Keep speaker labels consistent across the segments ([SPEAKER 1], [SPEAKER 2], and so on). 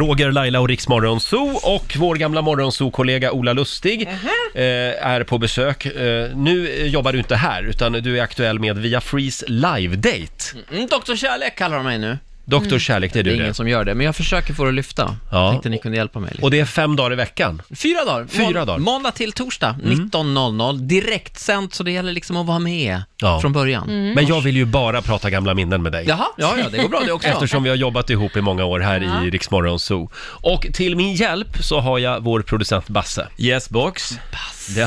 [SPEAKER 1] Roger, Laila och Riksmorgon Zoo och vår gamla morgonzoo-kollega Ola Lustig eh, är på besök. Eh, nu eh, jobbar du inte här, utan du är aktuell med Via Freeze Live Date.
[SPEAKER 2] Mm, Doktor Kärlek kallar de mig nu.
[SPEAKER 1] Doktor Kärlek, det är
[SPEAKER 2] Det är
[SPEAKER 1] du
[SPEAKER 2] ingen
[SPEAKER 1] det.
[SPEAKER 2] som gör det, men jag försöker få det att lyfta.
[SPEAKER 1] Ja.
[SPEAKER 2] Jag tänkte ni kunde hjälpa mig. Lite.
[SPEAKER 1] Och det är fem dagar i veckan.
[SPEAKER 2] Fyra dagar.
[SPEAKER 1] Fyra
[SPEAKER 2] Må-
[SPEAKER 1] dagar. Mm.
[SPEAKER 2] Måndag till torsdag, 19.00. Direktsänt, så det gäller liksom att vara med
[SPEAKER 1] Ja.
[SPEAKER 2] från början.
[SPEAKER 1] Men jag vill ju bara prata gamla minnen med dig.
[SPEAKER 2] Jaha, Mm. ja, ja, det går bra det också.
[SPEAKER 1] Eftersom vi har jobbat ihop i många år här i Riksmorgon Zoo. Och till min hjälp så har jag vår producent Basse.
[SPEAKER 3] Yes box.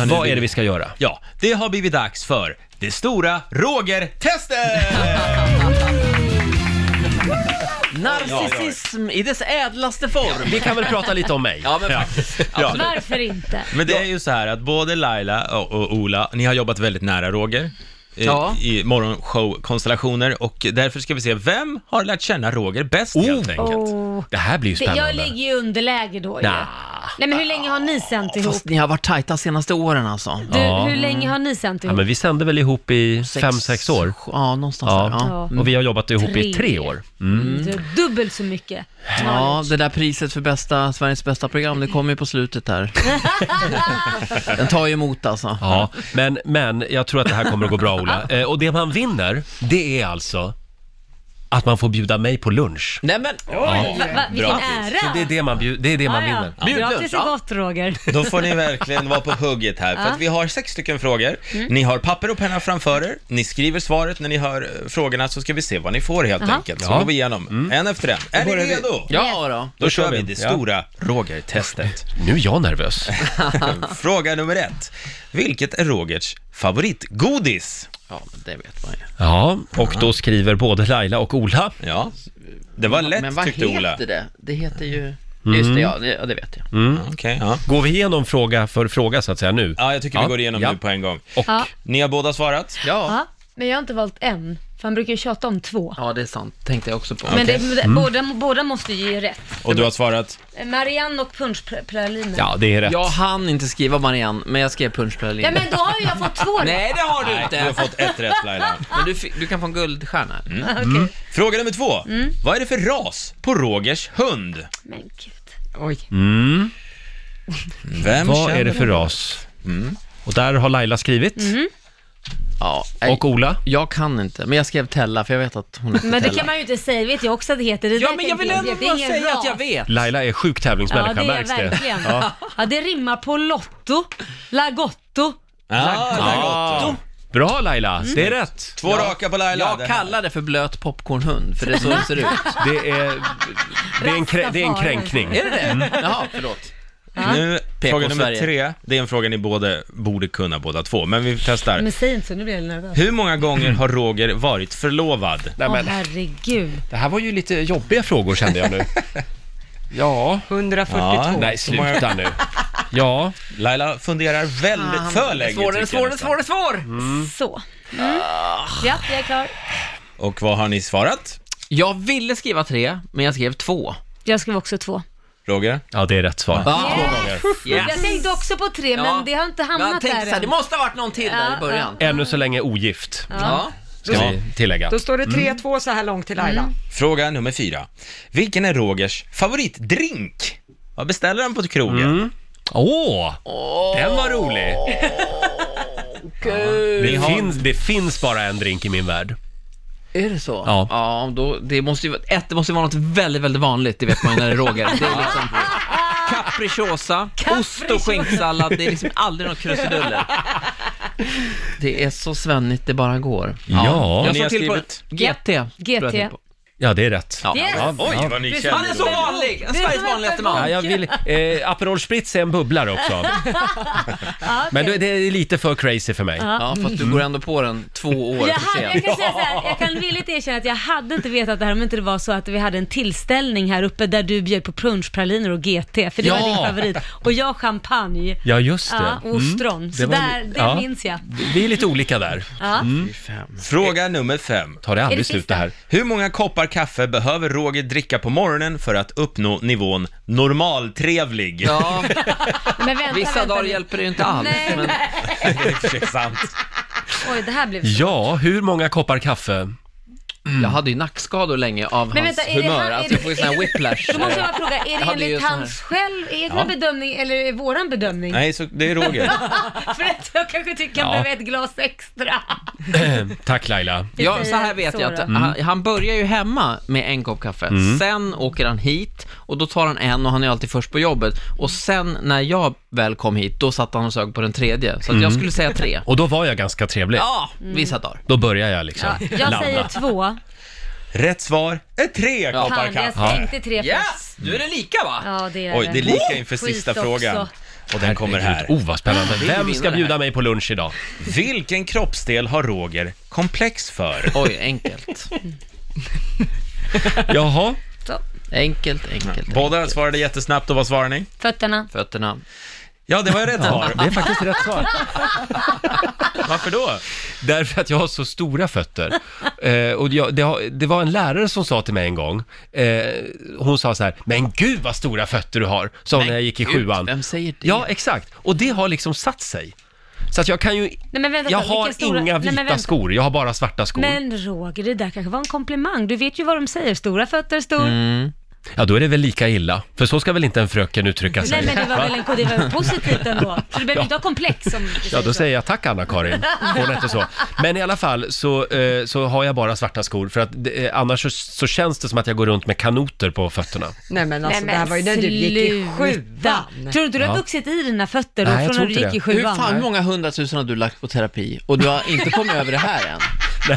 [SPEAKER 1] Vad är det vi ska göra?
[SPEAKER 3] Ja, det har blivit dags för det stora Roger-testet!
[SPEAKER 2] Narcissism i dess ädlaste form.
[SPEAKER 1] Vi kan väl prata lite om mig?
[SPEAKER 2] Ja, men faktiskt.
[SPEAKER 3] Ja.
[SPEAKER 4] Varför inte?
[SPEAKER 3] Men det är ju så här att både Laila och, och Ola, ni har jobbat väldigt nära Roger i,
[SPEAKER 2] Ja.
[SPEAKER 3] i morgonshow-konstellationer och därför ska vi se, vem har lärt känna Roger bäst helt
[SPEAKER 1] Oh,
[SPEAKER 3] enkelt?
[SPEAKER 1] det här blir ju
[SPEAKER 4] Det- Jag
[SPEAKER 1] spännande.
[SPEAKER 4] ligger ju i underläge då ju. Nej men hur länge har ni sänt ihop?
[SPEAKER 2] Fast ni har varit tajta senaste åren alltså.
[SPEAKER 4] Du,
[SPEAKER 1] Ja.
[SPEAKER 4] hur länge har ni sänt
[SPEAKER 1] Ja,
[SPEAKER 4] ihop?
[SPEAKER 1] men vi sände väl ihop i fem sex år?
[SPEAKER 2] sju- Ja, någonstans där. Ja.
[SPEAKER 1] Ja. Och vi har jobbat ihop i
[SPEAKER 4] Tre.
[SPEAKER 1] tre år.
[SPEAKER 4] Mm. Du, dubbelt så mycket.
[SPEAKER 2] Ja, det där priset för bästa, Sveriges bästa program, det kommer ju på slutet där. Den tar ju emot alltså.
[SPEAKER 1] Ja, men, men jag tror att det här kommer att gå bra Ola. Eh, och det man vinner, det är alltså att man får bjuda mig på lunch.
[SPEAKER 2] Nej men,
[SPEAKER 4] Va, va, vilken ära!
[SPEAKER 1] Så det är det man, bjud, det är det man vinner.
[SPEAKER 4] Ja, ja. Gratis är gott Roger.
[SPEAKER 3] Då får ni verkligen vara på hugget här, för att vi har sex stycken frågor. Ni har papper och penna framför er, ni skriver svaret när ni hör eh, frågorna, så ska vi se vad ni får helt
[SPEAKER 4] Jaha.
[SPEAKER 3] enkelt. Så går vi igenom, en efter en. Är ni redo?
[SPEAKER 2] ja då.
[SPEAKER 3] Då kör vi det
[SPEAKER 1] Ja.
[SPEAKER 3] stora Roger-testet.
[SPEAKER 1] Nu är jag nervös.
[SPEAKER 3] Fråga nummer ett. Vilket är Rogers favoritgodis?
[SPEAKER 2] Ja, men det vet man ju.
[SPEAKER 1] Ja, och då skriver både Laila och Ola.
[SPEAKER 3] Ja, det var lätt
[SPEAKER 2] Men vad
[SPEAKER 3] tyckte
[SPEAKER 2] heter
[SPEAKER 3] Ola.
[SPEAKER 2] det? Det heter ju... Just det, ja det, ja, det vet jag.
[SPEAKER 3] Mm. Okej, ja.
[SPEAKER 1] Går vi igenom fråga för fråga så att säga nu?
[SPEAKER 3] ja, jag tycker vi
[SPEAKER 1] Ja.
[SPEAKER 3] går igenom
[SPEAKER 1] Ja.
[SPEAKER 3] nu på en gång.
[SPEAKER 1] Och
[SPEAKER 4] Ja.
[SPEAKER 3] Ni har båda svarat?
[SPEAKER 2] Ja.
[SPEAKER 4] Ja, men jag har inte valt en, för han brukar ju tjata om två.
[SPEAKER 2] ja, det är sant. Tänkte jag också på.
[SPEAKER 4] Men det, det- båda, båda måste ju ge rätt.
[SPEAKER 3] Och du har svarat?
[SPEAKER 4] Marianne och punschpralinen. Ja.
[SPEAKER 1] ja, det är rätt.
[SPEAKER 2] Jag hann inte skriva Marianne, men jag skrev punschpralin.
[SPEAKER 4] ja, men då har ju jag fått två rätt.
[SPEAKER 2] Nej, det har du
[SPEAKER 3] Nej,
[SPEAKER 2] inte.
[SPEAKER 3] du har fått ett rätt Laila.
[SPEAKER 2] Men du, fi- du kan få en guldstjärna.
[SPEAKER 4] Mm. Okej.
[SPEAKER 3] Fråga nummer två.
[SPEAKER 2] Mm.
[SPEAKER 3] Vad är det för ras på Rogers hund?
[SPEAKER 4] Men gud.
[SPEAKER 2] Oj.
[SPEAKER 3] Vem
[SPEAKER 1] Vad är
[SPEAKER 3] känner
[SPEAKER 1] det för ras? Och där har Laila skrivit.
[SPEAKER 4] Mm.
[SPEAKER 2] Ja, nej,
[SPEAKER 1] Och Ola.
[SPEAKER 2] jag kan inte, men jag skrev Tella, för jag vet att hon heter
[SPEAKER 4] Men det
[SPEAKER 2] Tella.
[SPEAKER 4] kan man ju inte säga, vet jag också att det heter. Det
[SPEAKER 2] Ja,
[SPEAKER 4] där
[SPEAKER 2] men jag vill
[SPEAKER 4] tänker
[SPEAKER 2] ändå
[SPEAKER 4] det är
[SPEAKER 2] bara
[SPEAKER 4] ingen
[SPEAKER 2] säga att
[SPEAKER 4] ras.
[SPEAKER 2] jag vet.
[SPEAKER 1] Laila är sjuk tävlingsmänniska,
[SPEAKER 4] Ja, det är
[SPEAKER 1] märks
[SPEAKER 4] jag
[SPEAKER 1] det?
[SPEAKER 4] verkligen. Ja. det rimmar på Lotto,
[SPEAKER 3] Ah,
[SPEAKER 4] Lagotto.
[SPEAKER 3] det är
[SPEAKER 2] Ja,
[SPEAKER 3] gott.
[SPEAKER 1] Bra Laila,
[SPEAKER 4] Mm.
[SPEAKER 1] det är rätt.
[SPEAKER 3] Två raka på Laila.
[SPEAKER 2] jag
[SPEAKER 3] Det-
[SPEAKER 2] kallar det för blöt popcornhund, för det är så det ser ut.
[SPEAKER 1] Det är, det är, en, krä, det är en kränkning.
[SPEAKER 2] Är det det? Jaha, förlåt.
[SPEAKER 3] Nu,
[SPEAKER 2] PK
[SPEAKER 3] fråga nummer
[SPEAKER 2] Mm. Sverige.
[SPEAKER 3] tre. Det är en fråga ni både borde kunna båda två, men vi testar.
[SPEAKER 4] Men säg inte så, nu blir jag nervös.
[SPEAKER 3] Hur många gånger har Roger varit förlovad?
[SPEAKER 1] Nej,
[SPEAKER 4] Åh
[SPEAKER 1] men,
[SPEAKER 4] herregud.
[SPEAKER 1] det här var ju lite jobbiga frågor kände jag nu. Ja,
[SPEAKER 5] 142.
[SPEAKER 1] nej sluta nu. Ja,
[SPEAKER 3] Laila funderar väldigt för länge. tycker
[SPEAKER 2] Svårare,
[SPEAKER 3] jag
[SPEAKER 2] svårare,
[SPEAKER 3] nästan.
[SPEAKER 2] svårare, svår!
[SPEAKER 4] Så. Mm. Ja, jag är klar.
[SPEAKER 3] Och vad har ni svarat?
[SPEAKER 2] Jag ville skriva tre, men jag skrev två.
[SPEAKER 4] Jag skrev också två.
[SPEAKER 3] Roger?
[SPEAKER 1] ja det är rätt svar.
[SPEAKER 2] Yes.
[SPEAKER 4] Jag tänkte också på tre, men det har inte hamnat
[SPEAKER 2] jag tänkte
[SPEAKER 4] där
[SPEAKER 2] så här,
[SPEAKER 4] än.
[SPEAKER 2] Det måste ha varit någon till där i början.
[SPEAKER 1] Ännu så länge ogift,
[SPEAKER 2] Ja.
[SPEAKER 1] ska vi tillägga.
[SPEAKER 5] Då står det 3-2 så här långt till Laila.
[SPEAKER 3] Fråga nummer fyra. Vilken är Rogers favoritdrink? Vad beställer han på krogen?
[SPEAKER 1] Åh, den var rolig! Det finns, det finns bara en drink i min värld.
[SPEAKER 2] Är det så?
[SPEAKER 1] Ja.
[SPEAKER 2] ja då, det måste ju, vara- ett, det måste ju vara något väldigt, väldigt vanligt, det vet man ju när det är Roger. Det är liksom capricciosa, ost och skinksallad, det är liksom aldrig något krusiduller. Det är så svennigt det bara går.
[SPEAKER 1] Ja.
[SPEAKER 2] jag
[SPEAKER 3] Ni
[SPEAKER 2] slog
[SPEAKER 3] har
[SPEAKER 2] till på
[SPEAKER 3] skrivit-
[SPEAKER 2] GT. tror jag
[SPEAKER 4] GT.
[SPEAKER 2] tänkte på.
[SPEAKER 1] Ja, det är rätt.
[SPEAKER 2] Ja.
[SPEAKER 4] Yes!
[SPEAKER 1] Ja,
[SPEAKER 3] Oj,
[SPEAKER 1] ja.
[SPEAKER 3] vad ni
[SPEAKER 4] Precis.
[SPEAKER 3] känner
[SPEAKER 2] Han är så
[SPEAKER 3] Roger.
[SPEAKER 2] vanlig! En Sveriges vanligaste
[SPEAKER 1] Ja,
[SPEAKER 2] man.
[SPEAKER 1] jag vill, eh, Aperol Spritz är en bubblare också. Men det det är lite för crazy för mig.
[SPEAKER 2] Ja, fast du går ändå på den två år
[SPEAKER 4] Jag,
[SPEAKER 2] för
[SPEAKER 4] hade, jag
[SPEAKER 2] sent.
[SPEAKER 4] kan säga så här, jag kan villigt erkänna att jag hade inte vetat det här om inte det var så att vi hade en tillställning här uppe där du bjöd på punschpraliner och GT, för det
[SPEAKER 1] Ja.
[SPEAKER 4] var din favorit. Och jag champagne.
[SPEAKER 1] Ja, just det.
[SPEAKER 4] Ja, och
[SPEAKER 1] Mm.
[SPEAKER 4] ostron. Så
[SPEAKER 1] var-
[SPEAKER 4] där, det
[SPEAKER 1] ja.
[SPEAKER 4] minns jag.
[SPEAKER 1] Vi är lite olika där.
[SPEAKER 4] Ja.
[SPEAKER 3] Fråga nummer fem.
[SPEAKER 1] Tar det
[SPEAKER 4] Är det
[SPEAKER 1] aldrig slut
[SPEAKER 4] sista?
[SPEAKER 1] det här?
[SPEAKER 3] Hur många koppar kaffe behöver Roger dricka på morgonen för att uppnå nivån normaltrevlig?
[SPEAKER 2] Ja,
[SPEAKER 4] Men vänta,
[SPEAKER 2] vissa
[SPEAKER 4] vänta
[SPEAKER 2] dagar
[SPEAKER 4] nu.
[SPEAKER 2] hjälper det ju inte alls.
[SPEAKER 4] Nej,
[SPEAKER 2] men...
[SPEAKER 4] nej.
[SPEAKER 3] Det är i och för sig sant.
[SPEAKER 4] Oj, det här blev...
[SPEAKER 1] Ja, hur många koppar kaffe?
[SPEAKER 2] Jag hade ju nackskador länge av
[SPEAKER 4] Men
[SPEAKER 2] hans
[SPEAKER 4] vänta, är det
[SPEAKER 2] humör.
[SPEAKER 4] han- är
[SPEAKER 2] alltså jag
[SPEAKER 4] det-
[SPEAKER 2] får ju sån här whiplash.
[SPEAKER 4] Då måste jag bara fråga, är
[SPEAKER 2] Jag
[SPEAKER 4] det
[SPEAKER 2] hade ju
[SPEAKER 4] enligt
[SPEAKER 2] sån här-
[SPEAKER 4] hans själv egna
[SPEAKER 3] Ja.
[SPEAKER 4] bedömning eller är det våran bedömning?
[SPEAKER 3] Nej, så det är Roger.
[SPEAKER 4] För att jag kanske tycker han
[SPEAKER 1] Ja.
[SPEAKER 4] behöver ett glas extra.
[SPEAKER 1] Tack Laila.
[SPEAKER 2] Ja,
[SPEAKER 4] säger
[SPEAKER 2] så här vet jag att
[SPEAKER 4] Sora.
[SPEAKER 2] han, han börjar ju hemma med en kopp kaffe. Sen åker han hit och då tar han en och han är alltid först på jobbet. Och sen när jag väl kom hit, då satt han och sög på den tredje. Så att jag skulle säga tre.
[SPEAKER 1] Och då var jag ganska trevlig.
[SPEAKER 2] Ja,
[SPEAKER 4] Mm.
[SPEAKER 2] vissa dagar.
[SPEAKER 1] Då börjar jag liksom
[SPEAKER 4] Ja, jag säger två.
[SPEAKER 3] Rätt svar är tre koppar
[SPEAKER 4] Fan, jag
[SPEAKER 3] kaffe.
[SPEAKER 4] tänkte tre först.
[SPEAKER 2] Yes! Du är det lika va?
[SPEAKER 4] Ja, det är
[SPEAKER 3] Oj, det är lika inför
[SPEAKER 4] Skit
[SPEAKER 3] sista
[SPEAKER 4] också.
[SPEAKER 3] frågan. Och den kommer här.
[SPEAKER 1] Oh, vad spännande. Vem ska bjuda mig på lunch idag?
[SPEAKER 3] Vilken kroppsdel har Roger komplex för?
[SPEAKER 2] Oj, enkelt.
[SPEAKER 1] Jaha.
[SPEAKER 2] Enkelt, enkelt.
[SPEAKER 3] Båda
[SPEAKER 2] enkelt.
[SPEAKER 3] svarade jättesnabbt och vad svarar ni?
[SPEAKER 4] Fötterna.
[SPEAKER 2] Fötterna.
[SPEAKER 3] Ja, det var rätt svar.
[SPEAKER 1] Det är faktiskt rätt svar.
[SPEAKER 3] Varför då?
[SPEAKER 1] Därför att jag har så stora fötter. Eh, och jag, det, har, det var en lärare som sa till mig en gång, eh, hon sa så här, men gud vad stora fötter du har, sa hon när jag gick i
[SPEAKER 2] Gud,
[SPEAKER 1] sjuan.
[SPEAKER 2] Vem säger det?
[SPEAKER 1] Ja, exakt. Och det har liksom satt sig. Så att jag kan ju...
[SPEAKER 4] Nej, men vänta,
[SPEAKER 1] jag
[SPEAKER 4] vilka
[SPEAKER 1] har
[SPEAKER 4] stora-
[SPEAKER 1] inga
[SPEAKER 4] Nej,
[SPEAKER 1] vita
[SPEAKER 4] men vänta.
[SPEAKER 1] skor, jag har bara svarta skor.
[SPEAKER 4] Men Roger, det där kanske var en komplimang. Du vet ju vad de säger, stora fötter, stor.
[SPEAKER 1] Ja, då är det väl lika illa. För så ska väl inte en fröken uttrycka sig?
[SPEAKER 4] Nej men det var väl en det var väl positivt ändå. Så du behöver inte ha komplex om du
[SPEAKER 1] Ja, då
[SPEAKER 4] så.
[SPEAKER 1] säger jag tack Anna-Karin. Hon heter så. Men i alla fall så, eh, så har jag bara svarta skor för att det, eh, annars så, så känns det som att jag går runt med kanoter på fötterna.
[SPEAKER 5] Nej men alltså
[SPEAKER 4] Nej,
[SPEAKER 5] det här var ju när du gick i
[SPEAKER 4] sluta.
[SPEAKER 5] sjuan.
[SPEAKER 4] Tror du inte du har
[SPEAKER 1] Ja.
[SPEAKER 4] vuxit i dina fötter då,
[SPEAKER 1] Nej, jag
[SPEAKER 4] från
[SPEAKER 1] tror
[SPEAKER 4] när du
[SPEAKER 1] inte
[SPEAKER 4] gick
[SPEAKER 1] det.
[SPEAKER 4] i
[SPEAKER 2] Hur
[SPEAKER 4] sjuan?
[SPEAKER 2] fan hur många hundratusen har du lagt på terapi och du har inte kommit över det här än?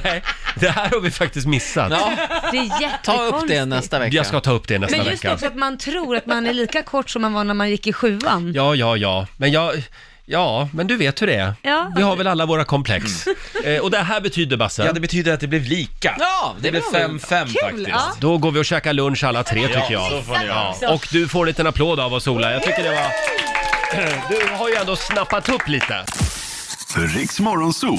[SPEAKER 1] Nej, det här har vi faktiskt missat.
[SPEAKER 2] Ja,
[SPEAKER 4] Det är
[SPEAKER 2] ta upp det
[SPEAKER 4] jättekonstigt.
[SPEAKER 2] nästa vecka.
[SPEAKER 1] Jag ska ta upp det nästa
[SPEAKER 4] Men just
[SPEAKER 1] vecka.
[SPEAKER 4] också att man tror att man är lika kort som man var när man gick i sjuan.
[SPEAKER 1] Ja, ja, ja. Men jag... Ja, men du vet hur det är.
[SPEAKER 4] Ja.
[SPEAKER 1] Vi har väl alla våra komplex. Eh, och det här betyder, Basse,
[SPEAKER 3] Mm. Ja, det betyder att det blev lika.
[SPEAKER 2] Ja, det
[SPEAKER 3] det blev
[SPEAKER 2] var väl-
[SPEAKER 3] 5-5 faktiskt.
[SPEAKER 4] ja.
[SPEAKER 1] Då går vi och käkar lunch alla tre tycker
[SPEAKER 3] Ja,
[SPEAKER 1] jag.
[SPEAKER 3] så får ni göra.
[SPEAKER 1] Ja, Och du får en liten applåd av oss Ola. Jag tycker det var... Du har ju ändå snappat upp lite.
[SPEAKER 6] Riks Morgonzoo.